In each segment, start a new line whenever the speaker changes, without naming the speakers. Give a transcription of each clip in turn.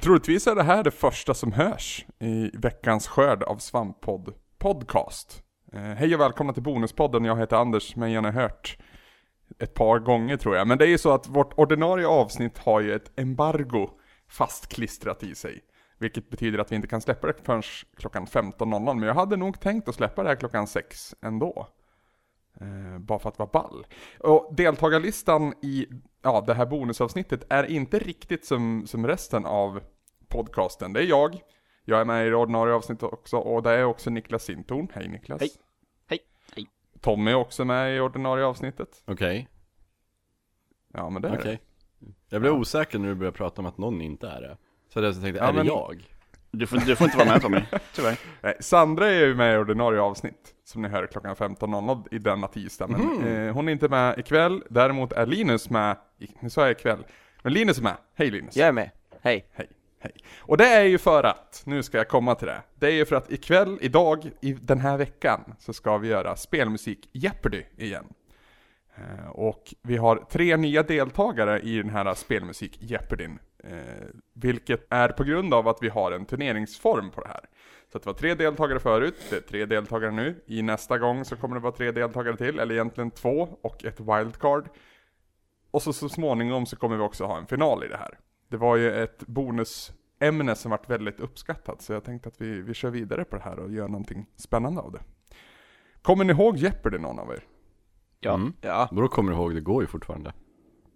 Troligtvis är det här det första som hörs i veckans skörd av Svamppodd Podcast. Eh, hej och välkomna till Bonuspodden, jag heter Anders, men jag har hört ett par gånger tror jag. Men det är ju så att vårt ordinarie avsnitt har ju ett embargo fastklistrat i sig. Vilket betyder att vi inte kan släppa det förrän klockan 15.00, men jag hade nog tänkt att släppa det här klockan 6 ändå. Eh, bara för att vara ball. Och deltagarlistan i ja, det här bonusavsnittet är inte riktigt som, som resten av podcasten. Det är jag, jag är med i det ordinarie avsnittet också och det är också Niklas Sintorn. Hej Niklas.
Hej. Hej. Hej.
Tommy är också med i ordinarie avsnittet.
Okej,
Ja men det är
okej.
det.
Jag blev osäker när du började prata om att någon inte är det. Så jag tänkte,
Ja,
är
men-
det jag?
Du får, du får inte vara med Tommy, tyvärr.
Nej, Eh, Sandra är ju med i ordinarie avsnitt, som ni hör klockan 15.00 i denna tisdag. Men
Mm.
eh, hon är inte med ikväll, däremot är Linus med, i- nu sa jag ikväll, men Linus är med. Hej Linus!
Jag är med. Hej.
Hej, hej. Och det är ju för att, nu ska jag komma till det, det är ju för att ikväll, idag, i den här veckan, så ska vi göra spelmusik Jeopardy igen. Eh, Och vi har tre nya deltagare i den här spelmusik Jeopardyn. Eh, vilket är på grund av att vi har en turneringsform på det här. Så att det var tre deltagare förut, det är tre deltagare nu. I nästa gång så kommer det vara tre deltagare till, eller egentligen två och ett wildcard. Och så, så småningom så kommer vi också ha en final i det här. Det var ju ett bonusämne som varit väldigt uppskattat, så jag tänkte att vi, vi kör vidare på det här och gör någonting spännande av det. Kommer ni ihåg Jeopardy någon av er?
Ja.
Mm.
Ja.
Då kommer du ihåg, det går ju fortfarande.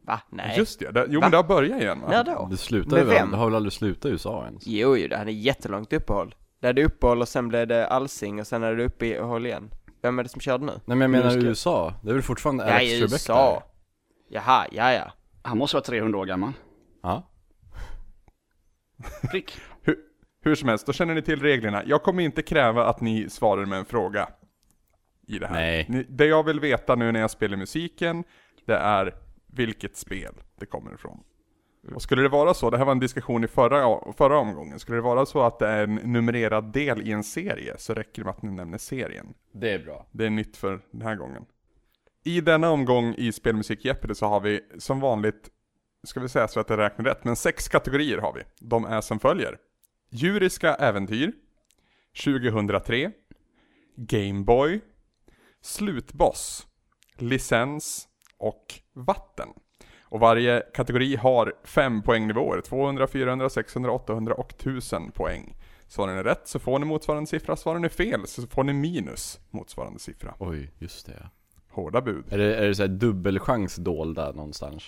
Va? Nej.
Just det, det jo
Va?
men det har börjat igen va?
När då?
Det slutar ju
Med
väl,
vem?
det har väl aldrig slutat i USA ens?
Jo, jo, det hade jättelångt uppehåll. Det hade uppehåll och sen blev det Alsing och sen hade det uppehåll igen. Vem är det som körde nu?
Nej men jag menar
Just det.
USA, det är väl fortfarande
Ja,
Alex
i
Trebek
USA.
där?
Jaha, ja, ja.
Han måste vara 300 år gammal.
Ja.
Prick.
Hur, hur som helst, då känner ni till reglerna. Jag kommer inte kräva att ni svarar med en fråga i det här.
Nej.
Ni, det jag vill veta nu när jag spelar musiken, det är vilket spel det kommer ifrån. Och skulle det vara så, det här var en diskussion i förra, förra omgången, skulle det vara så att det är en numrerad del i en serie så räcker det med att ni nämner serien.
Det är bra.
Det är nytt för den här gången. I denna omgång i Spelmusik Jeopardy så har vi som vanligt, ska vi säga så att jag räknar rätt, men sex kategorier har vi. De är som följer. Djuriska äventyr, 2003, Gameboy, Slutboss, Licens och Vatten. Och varje kategori har fem poängnivåer, 200, 400, 600, 800 och 1000 poäng. Svarar ni rätt så får ni motsvarande siffra, svarar ni fel så får ni minus motsvarande siffra.
Oj, just det.
Hårda bud.
Är det, är det såhär dubbelchans dolda någonstans?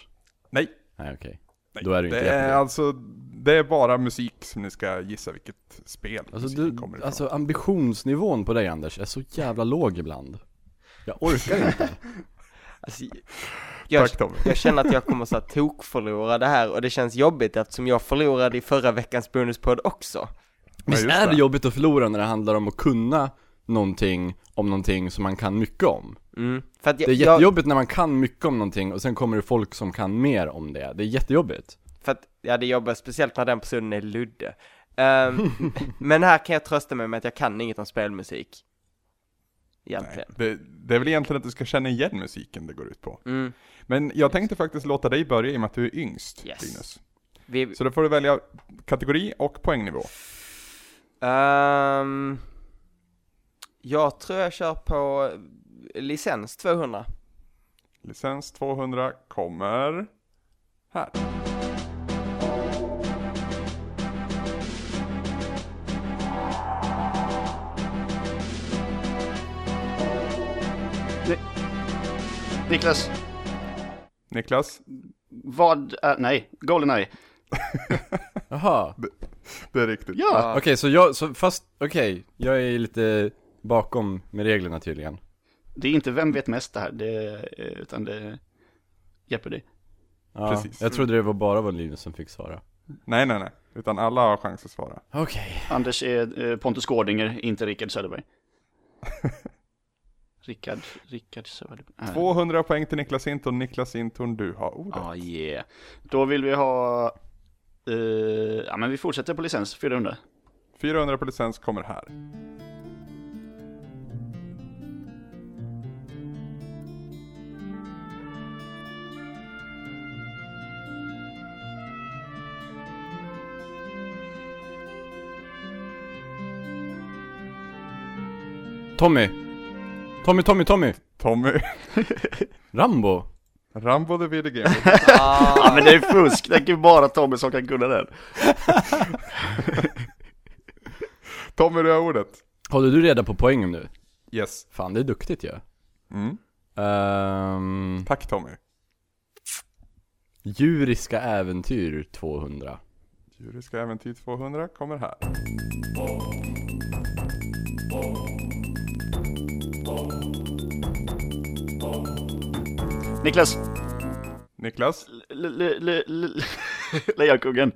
Nej,
Nej okej.
nej.
Då är det ju inte
är
Jeopardy.
alltså, det är bara musik som ni ska gissa vilket spel
Alltså,
musiken
du,
kommer ifrån.
alltså ambitionsnivån på dig Anders är så jävla låg ibland. Jag orkar inte.
Alltså, jag,
Tack Tommy.
jag känner att jag kommer så här tokförlora det här och det känns jobbigt eftersom jag förlorade i förra veckans bonuspodd också.
Visst
Ja, just
är det
det.
jobbigt att förlora när det handlar om att kunna någonting om någonting som man kan mycket om?
Mm. För att jag,
Det är
jag,
jättejobbigt när man kan mycket om någonting och sen kommer det folk som kan mer om det. Det är jättejobbigt.
För att, ja det jobbar speciellt när den personen är Ludde. Ehm, men här kan jag trösta mig med att jag kan inget om spelmusik.
Nej,
Egentligen.
det, det är väl egentligen att du ska känna igen musiken det går ut på.
Mm.
Men jag tänkte faktiskt låta dig börja i och med att du är yngst,
Yes.
Linus.
Vi,
Så då får du välja kategori och poängnivå.
ehm, jag tror jag kör på licens 200.
Licens 200 kommer här.
Niklas,
Niklas,
vad är... Nej, Goldeneye.
Jaha.
det är riktigt.
Ja!
Okej, så jag, så fast, okej, jag är lite bakom med reglerna tydligen.
Det är inte Vem vet mest det här, det, är, eh, utan det är Jeopardy.
Ja, Mm.
Precis.
Jag trodde det var bara var Linus som fick svara.
Nej, nej, nej. Utan alla har chans att svara.
Okej.
Anders är eh, Pontus Gårdinger, inte Rickard Söderberg. Rickard, Rickard Söderberg. Nej.
200 poäng till Niklas Hinton. Niklas Hinton, du har ordet.
Ja, ah, yeah. Då vill vi ha... eh, ja, men vi fortsätter på licens, 400.
400 på licens kommer här.
Tommy! Tommy, Tommy, Tommy!
Tommy,
Rambo!
Rambo the video game.
Ja men det är fusk, det är ju bara Tommy som kan kunna den.
Tommy, du har ordet.
Håller du reda på poängen nu?
Yes.
Fan, det är duktigt ju. Ja.
Mm.
Ehm,
Tack Tommy.
djuriska äventyr 200.
Djuriska äventyr 200 kommer här.
Niklas,
Niklas,
l- l- l- l- Lejonkungen.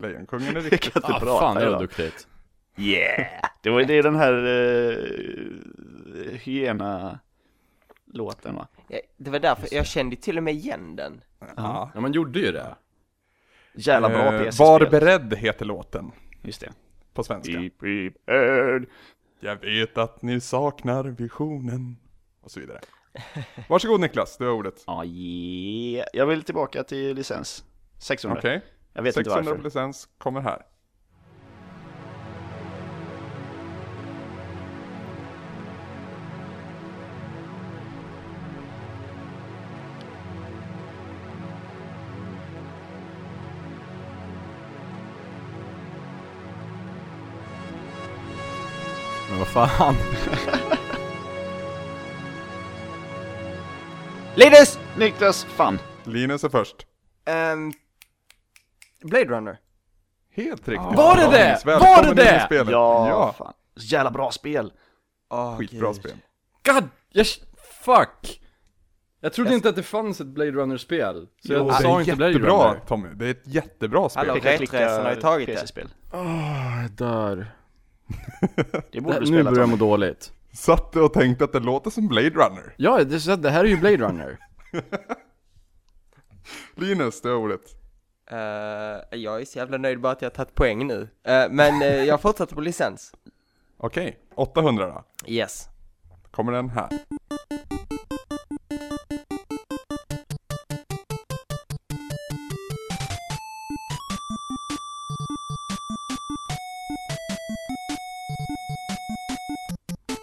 Lejonkungen är
Jag
riktigt.
kan inte
ah,
prata
fan, det var
idag.
duktigt.
Yeah! Det, var, det är den här uh, hyena-låten va?
Jag- Det var därför jag kände till och med igen den.
Ja.
Ja, man gjorde ju det.
Jävla bra
Eh,
PC-spel.
Var beredd heter låten
Just det.
på svenska.
Be prepared.
Jag vet att ni saknar visionen. Och så vidare. Varsågod Niklas, du har ordet.
Ja, Ah, yeah. Jag vill tillbaka till licens. 600.
Okej.
Jag vet
600
inte
på
varför.
licens kommer här.
Men vad fan.
Linus!
Niklas, fan.
Linus är först.
Ehm, Blade Runner.
Helt riktigt.
Var det det?
Linus,
Var
välkommen
det det?
in i spelet.
Ja, fan. Så jävla bra spel.
Oh,
skitbra spel.
God, jag... Fuck! Jag trodde inte att det fanns ett Blade Runner-spel. Så
Jo,
jag
det är
sa inte Blade
jättebra,
Runner.
Tommy, det är ett jättebra spel.
Hallå.
Fick jag klicka
Retroresan har ju tagit det.
PC-spel.
Åh, jag dör.
Det
Det
borde
här,
du
nu
spela.
börjar jag
Tom.
må dåligt.
Satt du och tänkte att det låter som Blade Runner?
Ja, det, så det här är ju Blade Runner.
Linus, det är ordet.
Eh, jag är så jävla nöjd bara att jag har tagit poäng nu. Eh, men eh, jag fortsätter på licens.
Okej, 800 då.
Yes.
Kommer den här.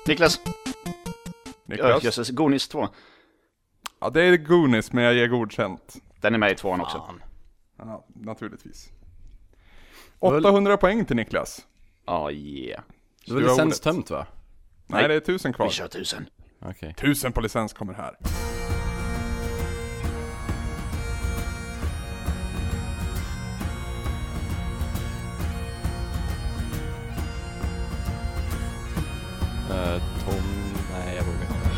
Niklas,
Niklas?
Ö, jösses, Goonies 2.
Ja, det är Goonies, men jag ger godkänt.
Den är med i tvåan också.
Ja, naturligtvis. 800 poäng till Niklas.
Ja, Ah, yeah.
Det var
Du har
licens
ordet.
tömt va?
Nej,
Nej.
det är 1000
Vi
kvar.
kör tusen.
Okej.
1000 på licens kommer här.
Eh, Tom... Nej, jag vågar inte.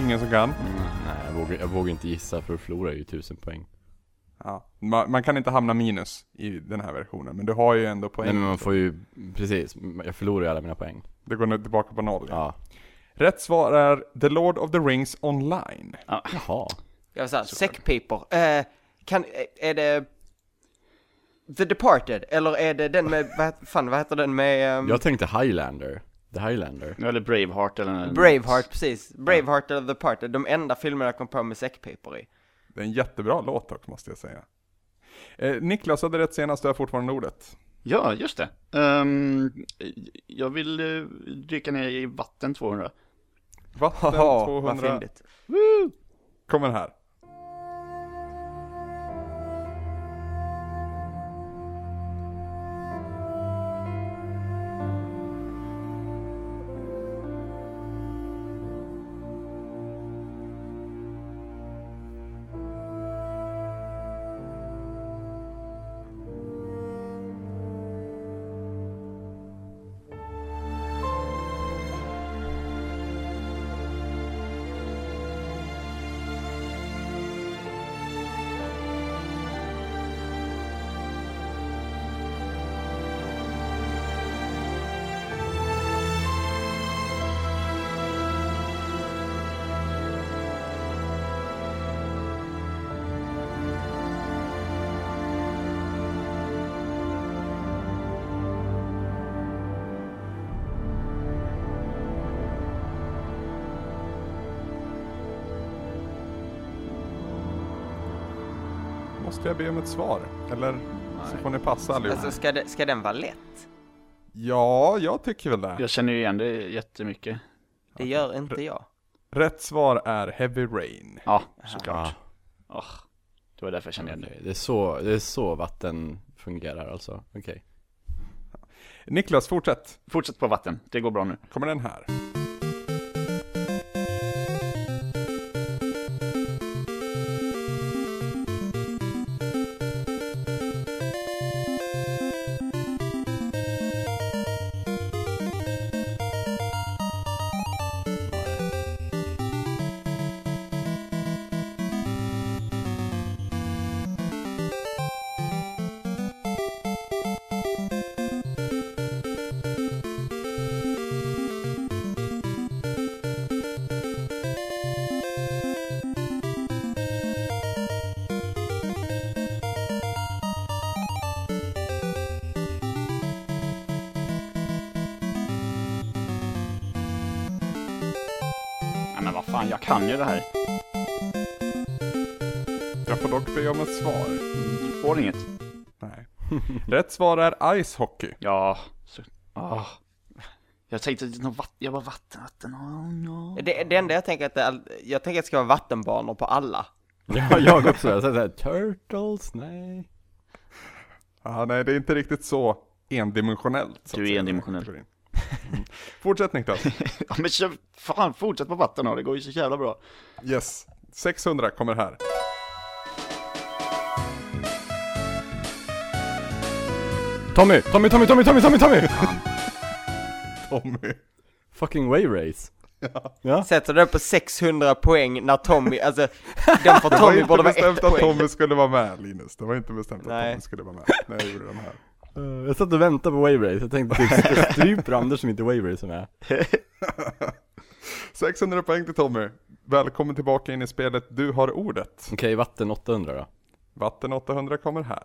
Ingen som kan.
Nej, jag vågar, jag vågar inte gissa för då förlorar jag ju tusen poäng.
Ja. Man, man kan inte hamna minus i den här versionen, men du har ju ändå poäng.
Nej men man får ju, precis, jag förlorar ju alla mina poäng.
Det går nu tillbaka på noll.
Ja.
Rätt svar är The Lord of the Rings Online.
Jaha.
Jag var såhär, säckpipor. Eh, kan, eh, är det... The Departed, eller är det den med, vad, fan vad heter den med... ehm,
Jag tänkte Highlander. The Highlander.
Nu är det Braveheart eller något.
Braveheart, precis. Braveheart eller The Departed, de enda filmerna jag kom på med säckpipor i.
Det är en jättebra låt dock, måste jag säga. Eh, Niklas hade rätt senast, du har fortfarande ordet.
Ja, just det. Ehm, jag vill uh, dyka ner i vatten 200.
Vatten
Haha, vad
200
fyndigt.
kommer här. måste jag be om ett svar. Eller så får ni passa allihop.
Alltså ska, det, ska den vara lätt?
Ja, jag tycker väl det.
Jag känner ju igen det jättemycket.
Det gör inte jag.
Rätt svar är Heavy Rain.
Ja, såklart. Åh, det var därför jag kände igen det.
Det är så, det är så vatten fungerar alltså. Okej.
Niklas, fortsätt.
Fortsätt på vatten, det går bra nu.
Kommer den här.
Ja, men vad fan, jag kan ju det här.
Jag får dock be om ett svar.
Får inget.
Nej. Rätt svar är Ice Hockey.
Ja, så... ah. Jag tänkte att det var vatten, jag var vatten, vatten, oh, no.
Det, det enda jag tänker att det, är- jag tänker att det ska vara vattenbanor på alla.
Ja, jag också. Jag sa såhär, turtles, nej.
Ah, nej, det är inte riktigt så endimensionellt. så
Du
att
är
säga.
endimensionell.
Mm. Fortsätt Niklas.
Ja, men kör, fan, fortsätt på vatten då, det går ju så jävla bra.
Yes. 600 kommer här.
Tommy, Tommy, Tommy, Tommy, Tommy, Tommy, Tommy!
Tommy.
Fucking way race. Ja.
Sätter du på 600 poäng när Tommy, alltså den för Tommy
det var
borde
inte
vara ett
bestämt att
poäng.
Tommy skulle vara med Linus. Det var inte bestämt att
Nej.
Tommy skulle vara med. När jag gjorde de här.
Eh, jag satt och väntade på wave race. Jag tänkte typ, stryper Anders som inte wave race är med.
600 poäng till Tommy. Välkommen tillbaka in i spelet Du har ordet.
Okej, vatten 800 då.
Vatten 800 kommer här.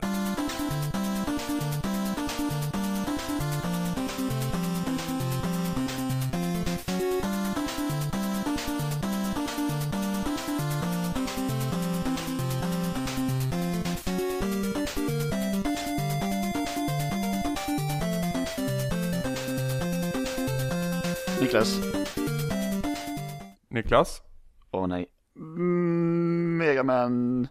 Niklas?
Niklas?
Åh nej. Mm, Megaman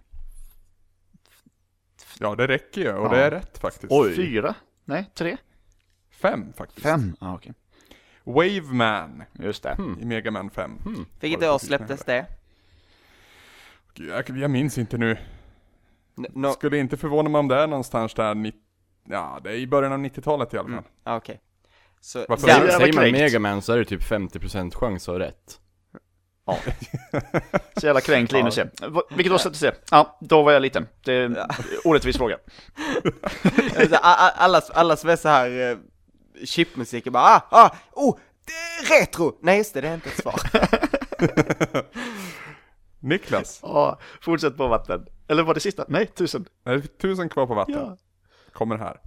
Ja, det räcker ju och
Ja.
det är rätt faktiskt.
Oj.
fyra? Nej, tre?
Fem faktiskt.
Fem? Ja, ah, okej.
Waveman
Just det. Hmm.
i Mega Man 5.
Vilket år släpptes det?
Gud, Jag, jag minns inte nu.
N- No,
Skulle inte förvåna mig om det är någonstans där, ni, ja det är i början av 90-talet i alla fall.
Mm.
ah, okej. Så,
Varför
den,
det?
Säger man
kränkt.
megaman så är det typ 50% chans att ha rätt.
Så jävla kränkt Linus är. Va- Vilket år släpptes det? Ja, då var jag liten. Det är en orättvis fråga.
alltså, a- a- alla, alla som är så här eh, chipmusik är bara ah, ah, oh, det är retro! Nej just det, det är inte ett svar.
Niklas,
Ja, fortsätt på vatten. Eller var det sista? Nej, tusen.
det är tusen kvar på vatten.
Ja.
Kommer här.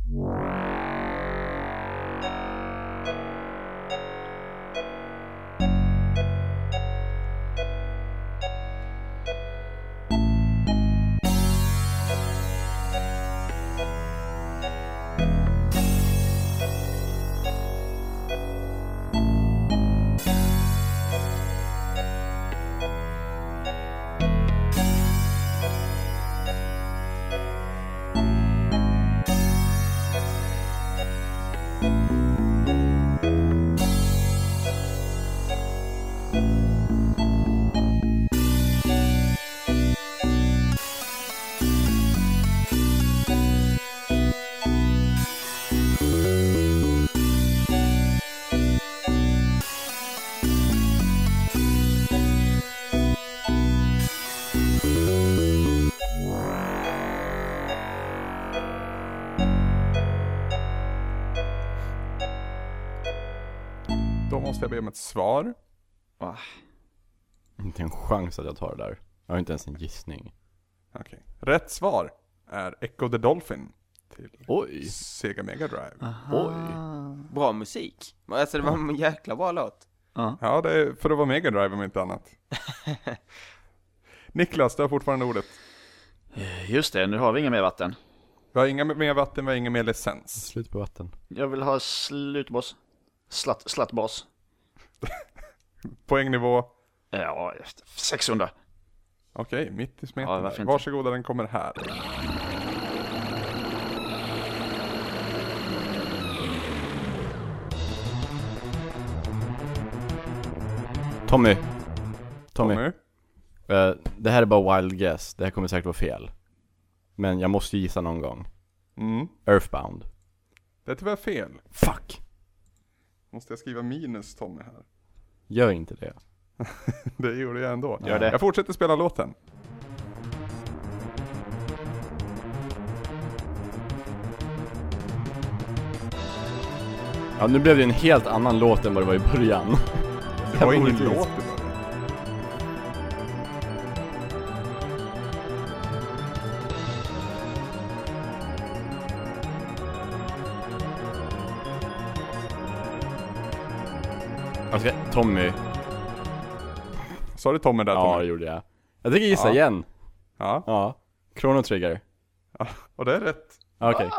Då måste jag be om ett svar.
Ah,
Inte en chans att jag tar det där. Jag har inte ens en gissning.
Okej. Rätt svar är Echo the Dolphin till
Oj,
Sega Mega Drive.
oj.
Bra musik. Men Alltså det var en jäkla bra låt.
Ja, det är för att vara Mega Drive om inte annat. Niklas, du har fortfarande ordet.
Just det, nu har vi inga mer vatten.
Vi har inga mer vatten, vi har ingen mer licens.
Slut på vatten.
Jag vill ha slutboss. Slatt, slattbas.
Poängnivå,
Ja, 600.
okej, mitt i smeten.
Ja, varför
där.
inte?
Varsågoda, den kommer här.
Tommy. Tommy.
Tommy.
Eh, det här är bara wild guess, det här kommer säkert vara fel. Men jag måste ju gissa någon gång.
Mm.
Earthbound.
Det är tyvärr fel.
Fuck!
Måste jag skriva minus Tommy här?
Gör inte det.
Det gjorde jag ändå.
Gör det.
Jag fortsätter spela låten.
Ja, nu blev det en helt annan låt än vad det var i början.
Det var ingen
Orättvist.
låt i början.
Alltså, Tommy.
Sa du Tommy där
Ja, det
Tommy?
gjorde jag. Jag tänker gissa
Ja.
igen.
Ja.
Ja. Chrono Trigger.
Och det är rätt.
Ja, Okej.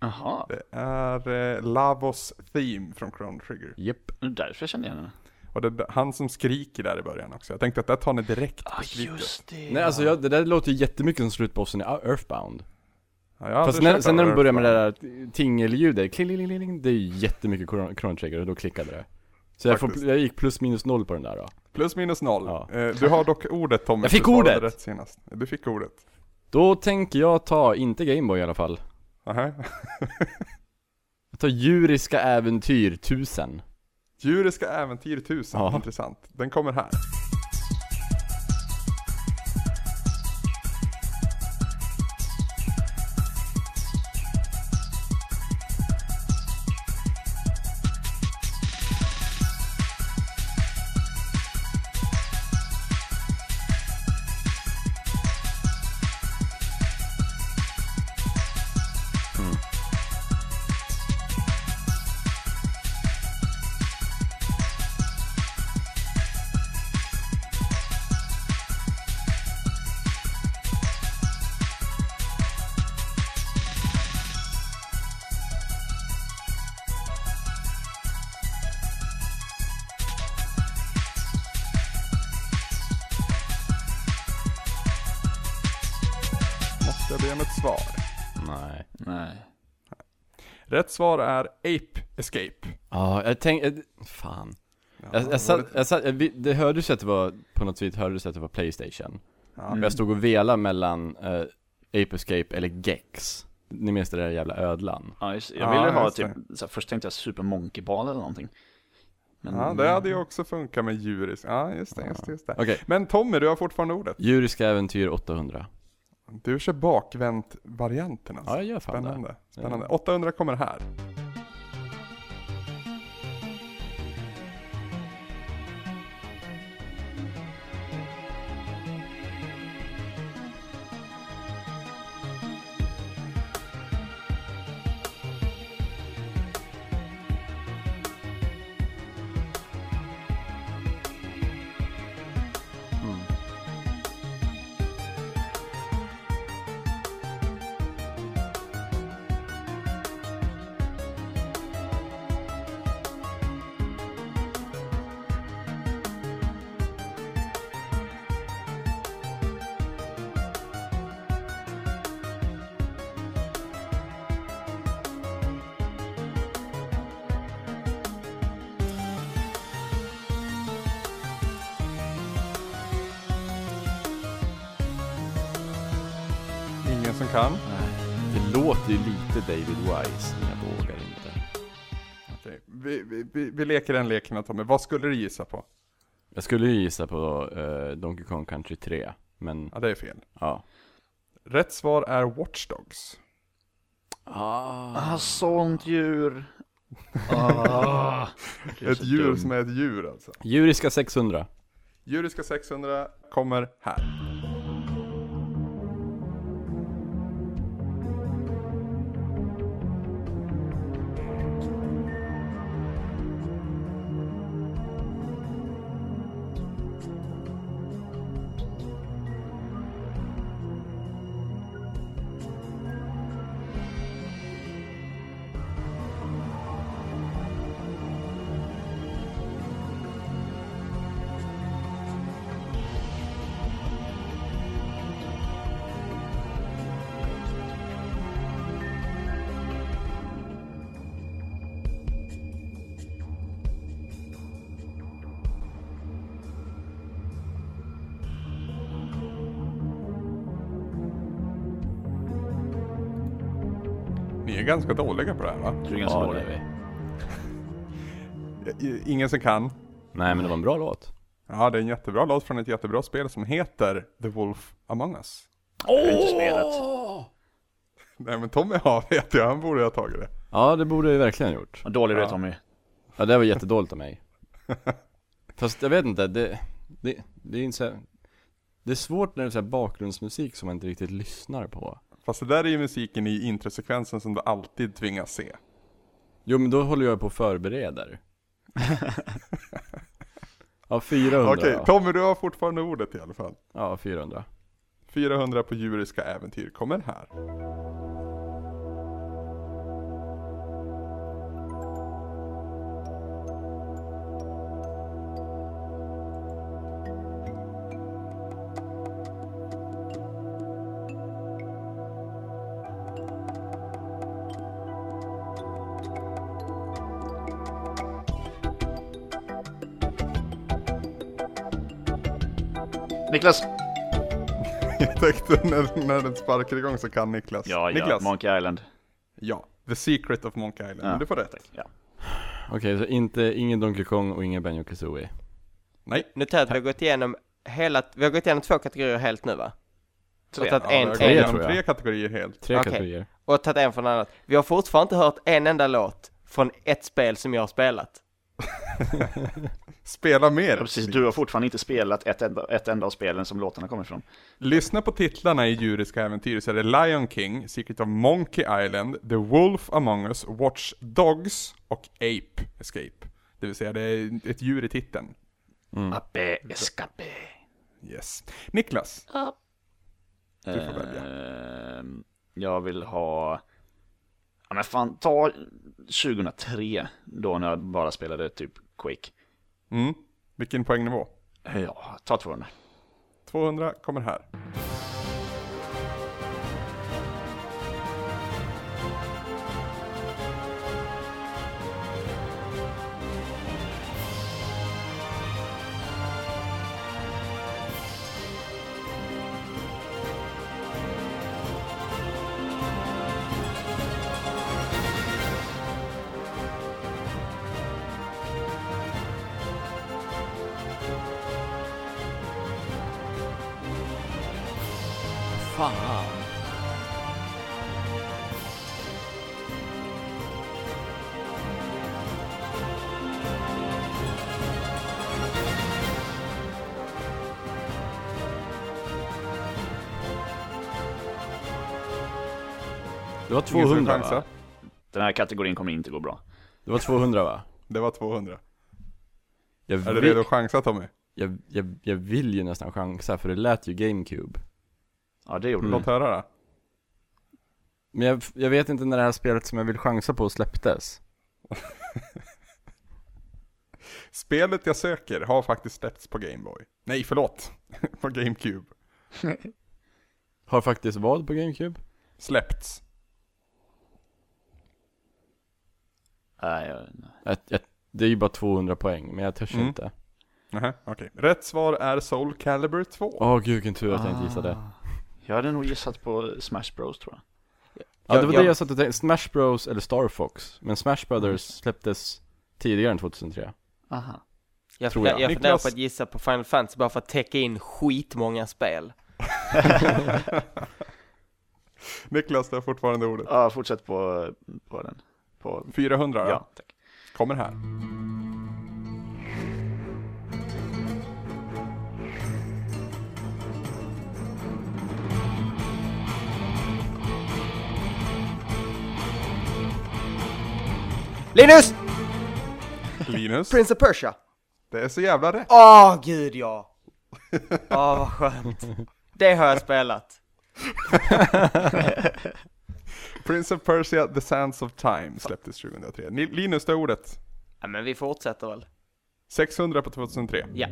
Jaha,
Det är eh, Lavos Theme från Chrono Trigger.
Japp.
det är därför jag kände igen den.
Och det är han som skriker där i början också. Jag tänkte att där tar ni direkt på
Ah,
skriket.
just det.
Nej, alltså jag, det där låter ju jättemycket som slutbossen i Earthbound.
Ja, jag har
Fast
aldrig
när,
kört
sen när de
Earth
börjar med det
Bound.
där tingeljudet, klingelingeling, det är ju jättemycket Chrono Chrono Trigger och då klickade det. Så jag, får,
Faktiskt.
jag gick plus minus noll på den där då.
Plus minus noll.
Ja.
Eh, Du har dock ordet Tommy.
Jag fick
för du svarade
ordet!
Rätt senast. Du fick ordet.
Då tänker jag ta, inte Gameboy i alla fall.
Aha.
Jag tar Djuriska Äventyr 1000.
Djuriska äventyr 1000.
Ja.
Intressant. Den kommer här. Måste jag be om ett svar.
Nej.
Nej.
Rätt svar är Ape Escape.
Ja, jag tänkte, fan.
Ja,
Jag, jag
det
satt,
var lite-
jag satt, jag, vi- det hördes ju att det var, på något vis hördes att det var Playstation.
Ja.
Jag stod och velade mellan eh, Ape Escape eller Gex. Ni minns det där jävla ödlan?
Ja, just, jag
Ja,
ville ha
just
typ, så här, först tänkte jag Super Monkey Ball eller någonting.
Mm.
Men,
Ja, det hade ju också funkat med djuris. Ja, just det, just det, just det.
Okej.
Men Tommy, du har fortfarande ordet.
Djuriska Äventyr 800.
Du kör bakvänt-varianten alltså.
Ja, jag gör fan det.
Spännande. Spännande. 800 kommer här. Ingen som kan.
Det låter ju lite David Wise, men jag vågar inte.
Okej. Vi, vi, vi, vi leker den leken då, Tommy. Vad skulle du gissa på?
Jag skulle ju gissa på eh, Donkey Kong Country 3, men
Ja, det är fel.
ja.
Rätt svar är Watch Dogs.
Ah.
Ah, sånt djur. Ah, det är
Ett
så
djur
dumt.
som är ett djur alltså.
Djuriska 600.
Djuriska 600 kommer här. ganska dåliga på det här va?
Jag tror det är ganska
Ja, det
dålig.
är vi.
I- Ingen som kan.
Nej men det var en bra låt.
Ja, det är en jättebra låt från ett jättebra spel som heter The Wolf Among Us.
Jag har inte spelat.
Nej men Tommy har vet jag, han borde ha tagit det.
Ja det borde jag ju verkligen ha gjort.
Vad dålig du är Tommy.
Ja det var jättedåligt av mig. Fast jag vet inte, det, det, det är inte så här, Det är svårt när det är så här bakgrundsmusik som man inte riktigt lyssnar på.
Fast det där är ju musiken i introsekvensen som du alltid tvingas se.
Jo men då håller jag på och förbereder. ja 400
Okej,
då.
Tommy du har fortfarande ordet i alla fall.
Ja 400.
400 på djuriska äventyr kommer här.
Niklas!
Jag tänkte när, när den sparkar igång så kan Niklas.
Ja, ja.
Niklas.
Monkey Island.
ja. The Secret of Monkey Island.
Ja,
Men du får rätt.
Tack. Ja.
Okej så inte, ingen Donkey Kong och ingen Benjo Kazooie.
Nej,
Noterar att vi har gått igenom hela, vi har gått igenom två kategorier helt nu va?
Tre.
Och tagit
ja,
en,
jag går
tre,
igenom
tror jag.
tre kategorier helt.
Tre
Okej.
kategorier.
och tagit en från annat. Vi har fortfarande inte hört en enda låt från ett spel som jag har spelat.
Spela mer.
Ja, precis, du har fortfarande inte spelat ett enda, ett enda av spelen som låtarna kommer ifrån.
Lyssna på titlarna i Djuriska Äventyr så är det Lion King, Secret of Monkey Island, The Wolf Among Us, Watch Dogs och Ape Escape. Det vill säga det är ett djur i titeln.
Mm.
Appe escape.
Yes. Niklas, du får välja.
Ehm, jag vill ha... Ja men fan, ta 2003 då när jag bara spelade typ Quake. Eh,
Mm. Vilken poängnivå?
Ja, ta 200.
200 kommer här.
Fan. Det var
Ingen som vill
200 va?
chansa?
Den här kategorin kommer inte gå bra.
Det var 200 va?
Det var 200.
Jag
Är du
vill,
redo att chansa Tommy?
jag, jag, jag vill ju nästan chansa för det lät ju GameCube.
Ja, det gjorde
Låt
Mm.
Mm.
höra då.
Men jag, jag vet inte när det här spelet som jag vill chansa på släpptes.
Spelet jag söker har faktiskt släppts på Gameboy. Nej, förlåt. på GameCube.
Har faktiskt vad på GameCube?
Släppts.
Nej, jag- nej.
Jag, jag, det är ju bara 200 poäng, men jag törs
Mm.
inte.
Nähä, okej. Rätt svar är Soul Calibur 2.
Åh gud vilken tur att jag inte gissade.
Jag hade nog gissat på Smash Bros tror jag.
Ja det var
jag-
det jag satt och tänkte, Smash Bros eller Star Fox. Men Smash Brothers släpptes tidigare än 2003.
Aha.
Jag,
Tror
funderar-
jag.
jag funderar
Niklas.
på att gissa på Final Fantasy bara för att täcka in skitmånga spel.
Niklas, du har fortfarande ordet.
Ja, fortsätt på, på den. På,
400 ja.
ja, tack.
kommer här.
Linus!
Linus,
Prince of Persia!
det är så jävla rätt.
Åh gud ja! Åh vad skönt. Det har jag spelat.
Prince of Persia, The Sands of Time släpptes 2003. Ni- Linus, det är ordet.
Ja, men vi fortsätter väl.
600 på 2003.
Ja.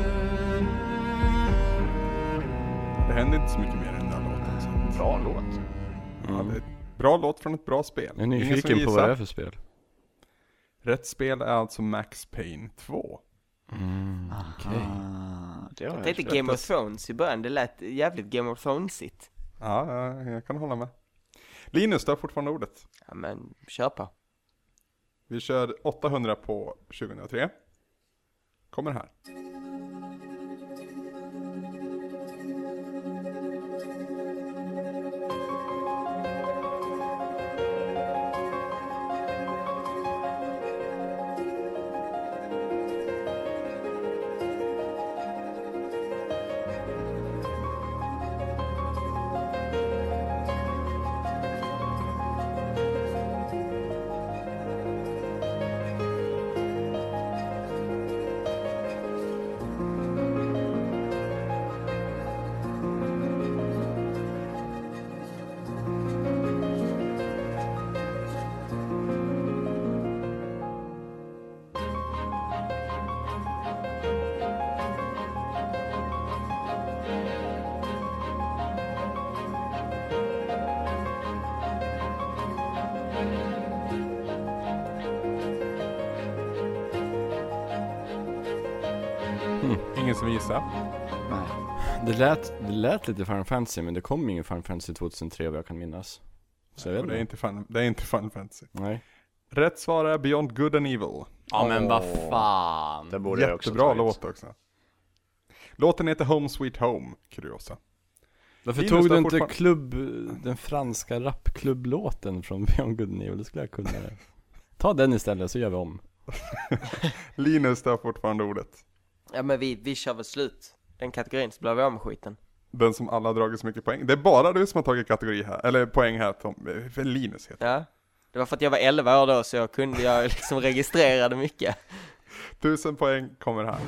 Ja,
Mm.
det är ett bra låt från ett bra spel.
Jag är
Ingen som
nyfiken på
gissar.
vad det är för spel.
Rätt spel är alltså Max Payne 2.
Ah, det har
Jag
jag
tänkte
inte.
Game of Thrones i början, det lät jävligt Game of Thronesigt.
Ja, ja, jag kan hålla med. Linus, du har fortfarande ordet.
Ja men, kör på.
Vi kör 800 på 2003. Kommer här. Ingen som gissar.
Nej.
Det lät, det lät lite Final Fantasy, men det kom ingen Final Fantasy 2003 vad jag kan minnas. Så jag vet
Och det, är
inte.
inte fun, det är inte Final Fantasy.
Nej.
Rätt svar är Beyond Good and Evil.
Ja men vad
Det
fan.
borde jag också
Jättebra
tagit.
låt också. Låten heter Home Sweet Home, kuriosa.
Varför
Linus,
tog
du har
du inte
fortfarande-
klubb, den franska rapklubblåten från Beyond Good and Evil? Det skulle jag kunna. det. Ta den istället så gör vi om.
Linus, du har fortfarande ordet.
Ja men vi, vi kör väl slut. Den kategorin så blir vi av med skiten.
Den som alla har dragit så mycket poäng. Det är bara du som har tagit kategori här, eller poäng här Tom. Eh, För Linus heter
Ja. Det var för att jag var 11 år då så jag kunde, jag liksom registrerade mycket.
det. Tusen poäng kommer här.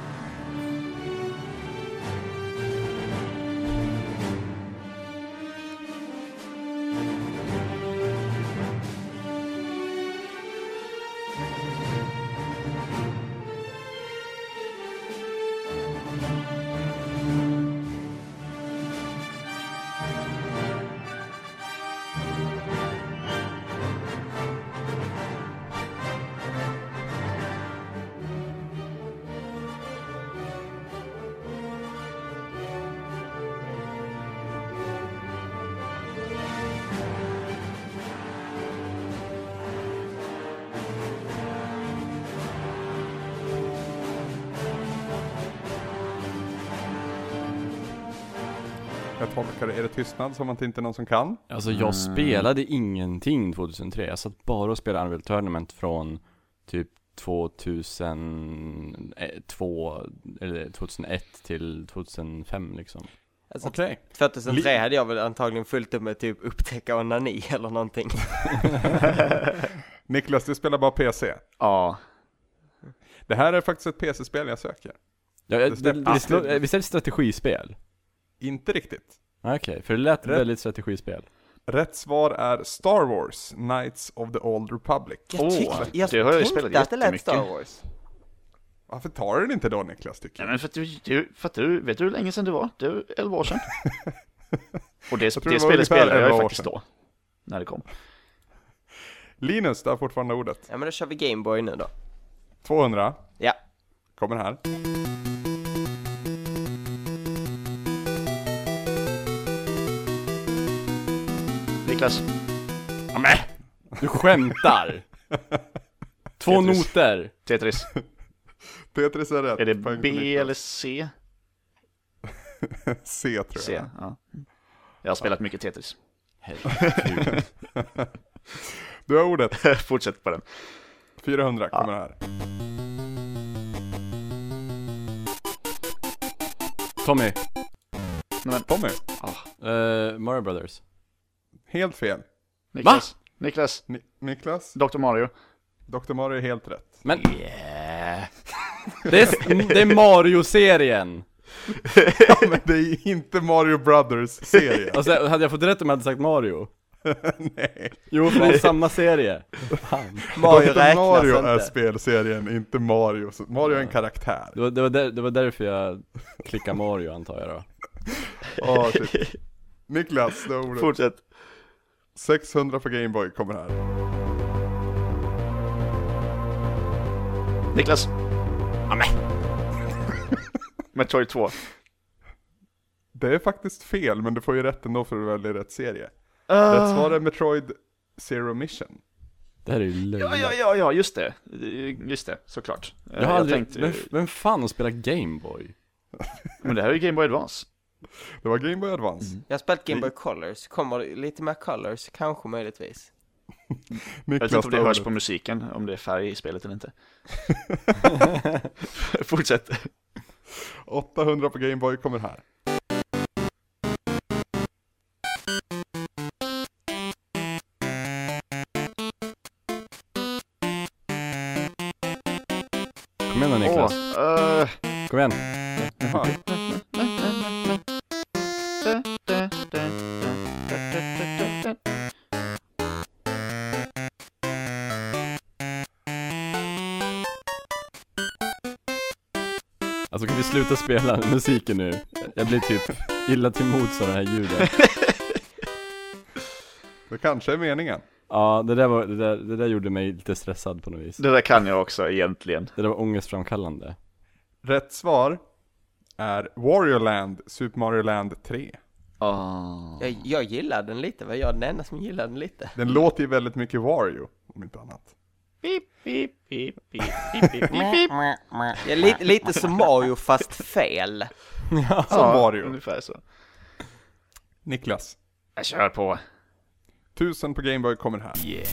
Jag tolkar det. Är det tystnad som att det inte är någon som kan?
Alltså jag spelade ingenting 2003, jag satt bara och spelade Unreal Tournament från typ 2002, eller 2001 till 2005 liksom.
Alltså,
Okej.
2003
Li-
hade jag väl antagligen fullt upp med typ upptäcka onani eller någonting.
Niklas, du spelar bara PC.
Ja.
Det här är faktiskt ett PC-spel jag söker.
Ja,
Det
det, det,
stämmer.
det, slår- eh, visst är det strategispel?
Inte riktigt.
Okej, för det lät
Rätt.
väldigt strategispel.
Rätt svar är Star Wars, Knights of the Old Republic.
Jag,
Åh,
tyck, jag
det har jag ju
tänkte
spelat
att det lät Star
jättemycket.
Wars.
Varför tar du den inte då Niklas, tycker jag?
Nej, men för att du, du, för att du, vet du hur länge sedan det var? Det är 11 år sedan. Och det,
tror det
det,
var ungefär
spelet spelade
11
jag
år
ju faktiskt
sedan.
då. När det kom.
Linus, du har fortfarande ordet.
Ja men då kör vi Gameboy nu då.
200,
Ja.
kommer här.
Niklas.
Ja, men, du skämtar! Två
Tetris.
noter!
Tetris.
Tetris är rätt.
Är det
Poäng för
B
Niklas.
eller C?
C tror jag.
C, ja. Jag har spelat mycket Tetris.
Du har ordet.
Fortsätt på den.
400 kommer här.
Tommy,
Nej, men,
Tommy,
eh, Mario Brothers.
helt fel.
Niklas. Niklas.
Ni Niklas,
Dr. Mario.
Dr. Mario är helt rätt.
Men... Det är, s- det är Mario-serien!
Ja, men det är inte Mario Brothers-serien.
Alltså, hade jag fått rätt om jag hade sagt Mario?
Nej.
Jo, för det är samma serie.
Mario
Dr.
räknas
Mario
inte.
är spelserien, inte Mario. Så Mario är en karaktär.
Det var, det, var där, det var därför jag klickade Mario antar jag då.
Åh, shit. typ. Niklas, du har ordet.
Fortsätt.
600 på Gameboy kommer här.
Niklas! Amen. Metroid 2.
Det är faktiskt fel, men du får ju rätt ändå för du väljer rätt serie.
Ah.
Rätt svar är Metroid Zero Mission.
Det här är ju löjligt.
Ja, ja, ja, ja, just det. Just det, såklart. Eh,
Jag har aldrig,
tänkte ju-
vem, vem fan har spelat Gameboy?
Men det här är ju Game Boy Advance.
Det var Game Boy Advance.
Mm.
Jag har spelat Game Boy Colors, kommer det lite mer Colors, kanske möjligtvis.
Jag vet inte om det
tar
hörs
ordet.
på musiken, om det är färg i spelet eller inte. Fortsätt.
800 på Gameboy kommer här.
Kom igen då Niklas,
Åh, eh,
kom igen.
Mm.
Jaha.
Alltså kan vi sluta spela musiken nu? Jag blir typ illa till mods av det här ljudet.
Det kanske är meningen.
Ja, det där, var, det, där, det där gjorde mig lite stressad på något vis.
det där kan jag också egentligen.
Det där var ångestframkallande.
Rätt svar är Wario Land, Super Mario Land 3.
Oh.
Jag, jag gillar den lite, var jag den enda som gillar den lite?
Den låter ju väldigt mycket Wario, om inte annat.
Ja, lite, lite som Mario fast fel.
Som Wario.
Ungefär så.
Niklas.
Jag kör på.
1000 på Gameboy kommer här.
Yeah.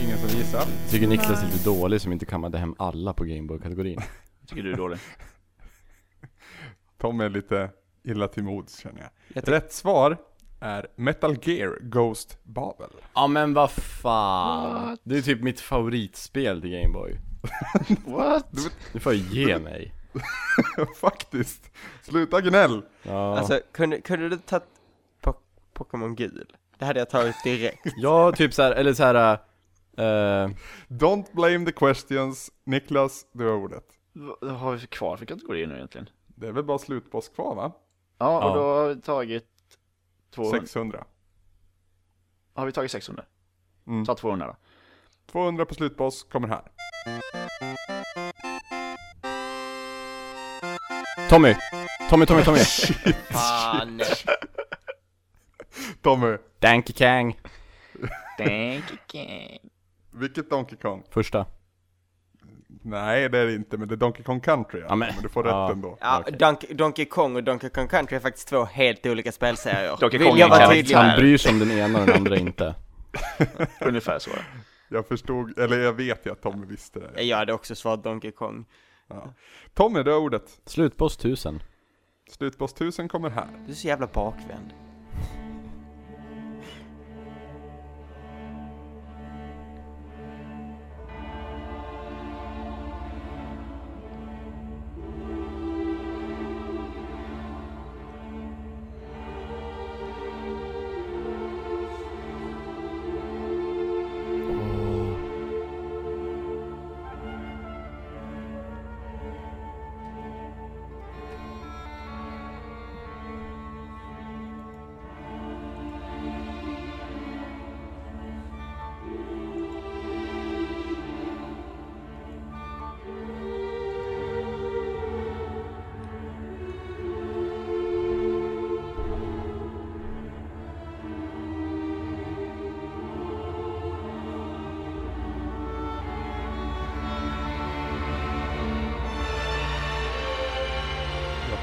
Ingen som gissar.
Jag tycker Niklas är lite dålig som inte kammade hem alla på Gameboy-kategorin.
Tycker du är dålig?
Tom är lite illa till mods känner jag.
Jag tyck-
Rätt svar är Metal Gear Ghost Babel.
Ja men vad fan. Det är typ mitt favoritspel till Gameboy.
What?
Du får jag ge mig.
Faktiskt. Sluta gnäll.
Ja.
Alltså, kunde, kunde du tagit po- Pokémon gul? Det hade jag tagit direkt.
Ja, typ såhär, eller såhär, eh,
Don't blame the questions. Niklas, du har ordet.
Vad har vi kvar för kategorier nu egentligen?
Det är väl bara slutboss kvar va?
Ja, och
Ja.
då har vi tagit 200.
600.
Har vi tagit 600?
Mm.
Ta 200 då.
200 på slutboss kommer här.
Tommy! Tommy, Tommy, Tommy!
Fan.
Tommy,
Donkey Kang!
vilket Donkey Kong?
Första.
Nej det är det inte, men det är Donkey Kong Country. Ja, men...
men-
du får rätt
ja.
ändå.
Ja, Donkey, Donkey Kong och Donkey Kong Country är faktiskt två helt olika spelserier.
Donkey
Vill
Kong
jag
är en
vara
Han,
tydlig
karaktär.
han
här?
bryr sig om den ena och den andra inte.
Ungefär så.
Jag förstod, eller jag vet ju att Tommy visste det.
Jag hade också svarat Donkey Kong.
Tommy, du har ordet.
Slutboss 1000.
Slutboss 1000 kommer här.
Du är så jävla bakvänd.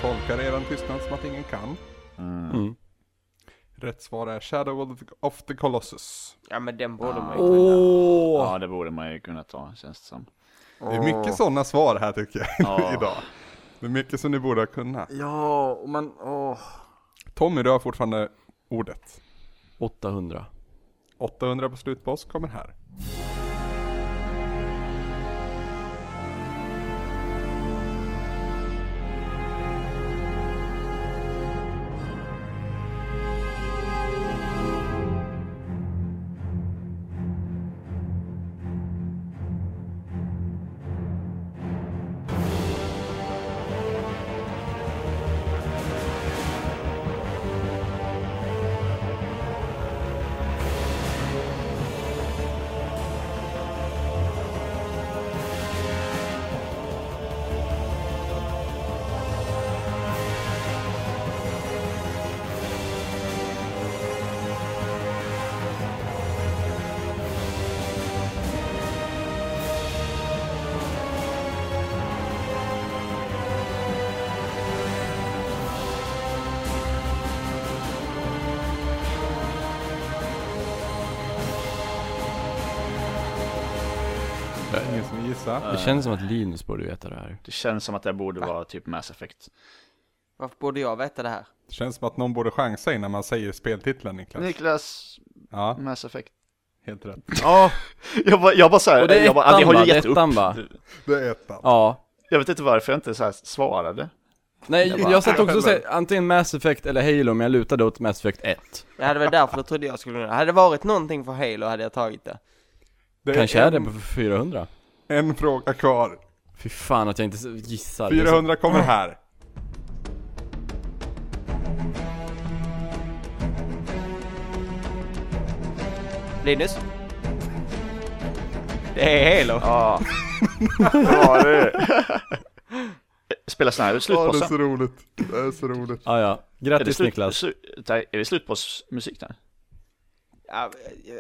tolkar eran tystnad som att ingen kan.
Mm.
Rätt svar är Shadow of the- of the Colossus.
Ja men den borde man ju kunna.
Åh!
Ja, det borde man ju kunna ta, känns det som.
Det är mycket sådana svar här tycker jag
Ja.
idag. Det är mycket som ni borde ha kunnat.
Ja, och man... Åh.
Tommy, du har fortfarande ordet.
800.
800 på slutboss kommer här. Ingen som vill gissa.
Det känns som att Linus borde veta det här.
Det känns som att det borde vara typ Mass Effect.
Varför borde jag veta det här?
Det känns som att någon borde chansa innan man säger speltiteln Niklas.
Niklas,
Ja,
Mass Effect.
helt rätt.
Ja,
Jag bara, jag bara såhär,
och det är
jag bara, ja,
ettan
vi har
va?
ju
Det är
gett upp.
ettan va?
Det är ettan.
Ja.
Jag vet inte varför jag inte så här svarade.
Nej,
Jag
jag,
bara-
satt också och sa antingen Mass Effect eller Halo, men jag lutade åt Mass Effect 1.
Det hade väl därför jag trodde jag skulle kunna. Hade det varit någonting för Halo hade jag tagit det.
Det
Kanske är det
en,
på 400.
en fråga kvar.
Fy fan att jag inte gissar. Det är så-
400 kommer här.
Linus? Det är Halo.
Ja. ja det. Spelar sån här
Ja, det är
slutbossen.
så roligt. Det är så roligt.
Ah, ja.
Är det,
Grattis
slut,
Niklas.
slu, är det slutbossmusik där?
Ja,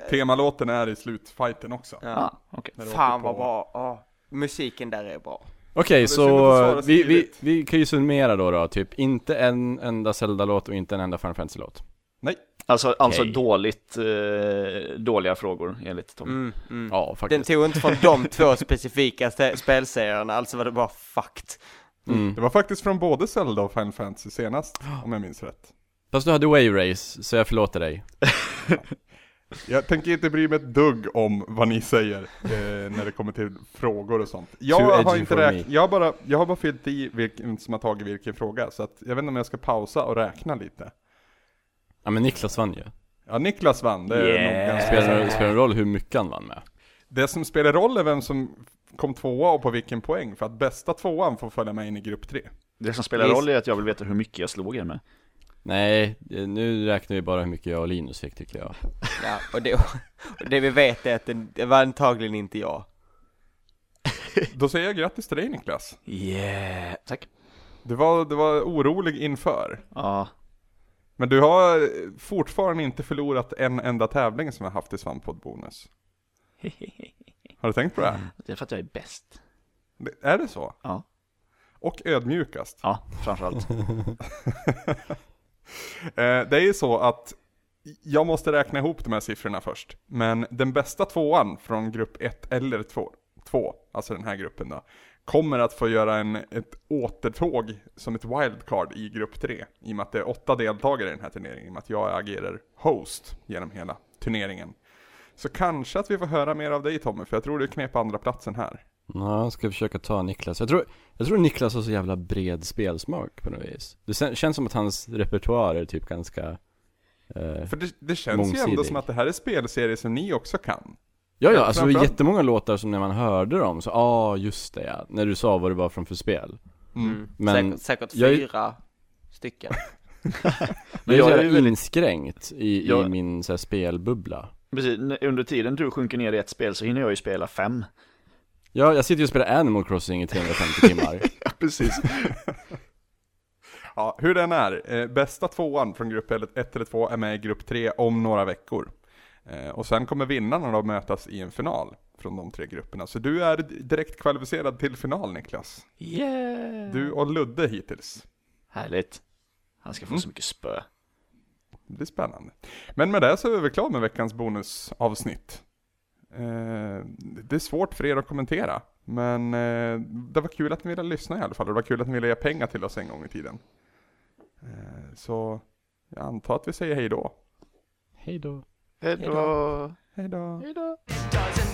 Temalåten är i slutfighten också.
Ja.
Ja, ah, okej.
När du
fan
åker
vad
på-
bra. Ja. musiken där är bra.
Okej,
är synd att
så
svara
eh, vi, vi,
skrivet.
vi kan ju summera då då, typ inte en enda Zelda-låt och inte en enda Final Fantasy-låt.
Nej,
Alltså, alltså
Okej.
dåligt, eh, dåliga frågor enligt Tom.
Mm, mm.
Ja,
Den
faktiskt.
tog inte från de två specifika st- spelserierna, alltså var det bara fucked.
Mm.
det var faktiskt från både Zelda och Final Fantasy senast, om jag minns rätt.
Fast du hade Wave Race, så jag förlåter dig.
Jag tänker inte bry mig ett dugg om vad ni säger eh, när det kommer till frågor och sånt. Jag
edgy
har, inte
for
räk-
me.
jag, har bara, jag har bara fyllt i vilken som har tagit vilken fråga, så att jag vet inte om jag ska pausa och räkna lite.
Ja men Niklas vann ju.
Ja, Niklas vann, det är nog
Yeah.
ganska
Spelar det spelar det roll hur mycket han vann med?
Det som spelar roll är vem som kom tvåa och på vilken poäng, för att bästa tvåan får följa med in i grupp tre.
Det som spelar
Visst.
roll är att jag vill veta hur mycket jag slog er med.
Nej, eh, nu räknar vi bara hur mycket jag och Linus fick tycker jag.
Ja, och det, och det vi vet är att det, det var antagligen inte jag.
Då säger jag grattis till dig Niklas.
Yeah. Tack.
Du var, du var orolig inför.
Ja,
Men du har fortfarande inte förlorat en enda tävling som jag haft i Svamppodd Bonus. Har du tänkt på det?
det är för att jag är bäst.
Det- Är det så?
Ja.
Och ödmjukast.
Ja, framförallt.
Eh, det är ju så att jag måste räkna ihop de här siffrorna först. Men den bästa tvåan från grupp 1 eller 2, två, alltså den här gruppen då, kommer att få göra en, ett återtåg som ett wildcard i grupp 3. I och med att det är åtta deltagare i den här turneringen, i och med att jag agerar host genom hela turneringen. Så kanske att vi får höra mer av dig Tommy, för jag tror du knep andra platsen här.
Ja, jag ska försöka ta Niklas. Jag tror, jag tror Niklas har så jävla bred spelsmak på något vis. Det sen- känns som att hans repertoar är typ ganska... Eh,
För det, det känns ju ändå
Mångsidig.
som att det här är spelserier som ni också kan.
ja, ja, alltså det var
framförallt-
jättemånga låtar som när man hörde dem så, ah, just det ja. När du sa vad det var från för spel.
Mm.
Men
säkert säkert
jag är-
fyra stycken.
Men
jag
jag
är
är
ju
ju
väldigt-
inskränkt i, i
Jag-
min så här, spelbubbla.
Precis, n- under tiden du sjunker ner i ett spel så hinner jag ju spela fem.
Jag, jag sitter ju och spelar Animal Crossing i 350 timmar.
Precis.
Ja, hur den är. Eh, bästa tvåan från grupp 1 eller 2 är med i grupp 3 om några veckor. Eh, och sen kommer vinnarna då mötas i en final från de tre grupperna. Så du är d- direkt kvalificerad till final Niklas.
Yeah!
Du och Ludde hittills.
Härligt. Han ska få så mycket spö.
Det blir spännande. Men med det så är vi väl klara med veckans bonusavsnitt. Eh, det är svårt för er att kommentera, men eh, det var kul att ni ville lyssna i alla fall, och det var kul att ni ville ge pengar till oss en gång i tiden. Eh, så jag antar att vi säger hej då.
Hej då.
Hej då.
Hej då.
It doesn't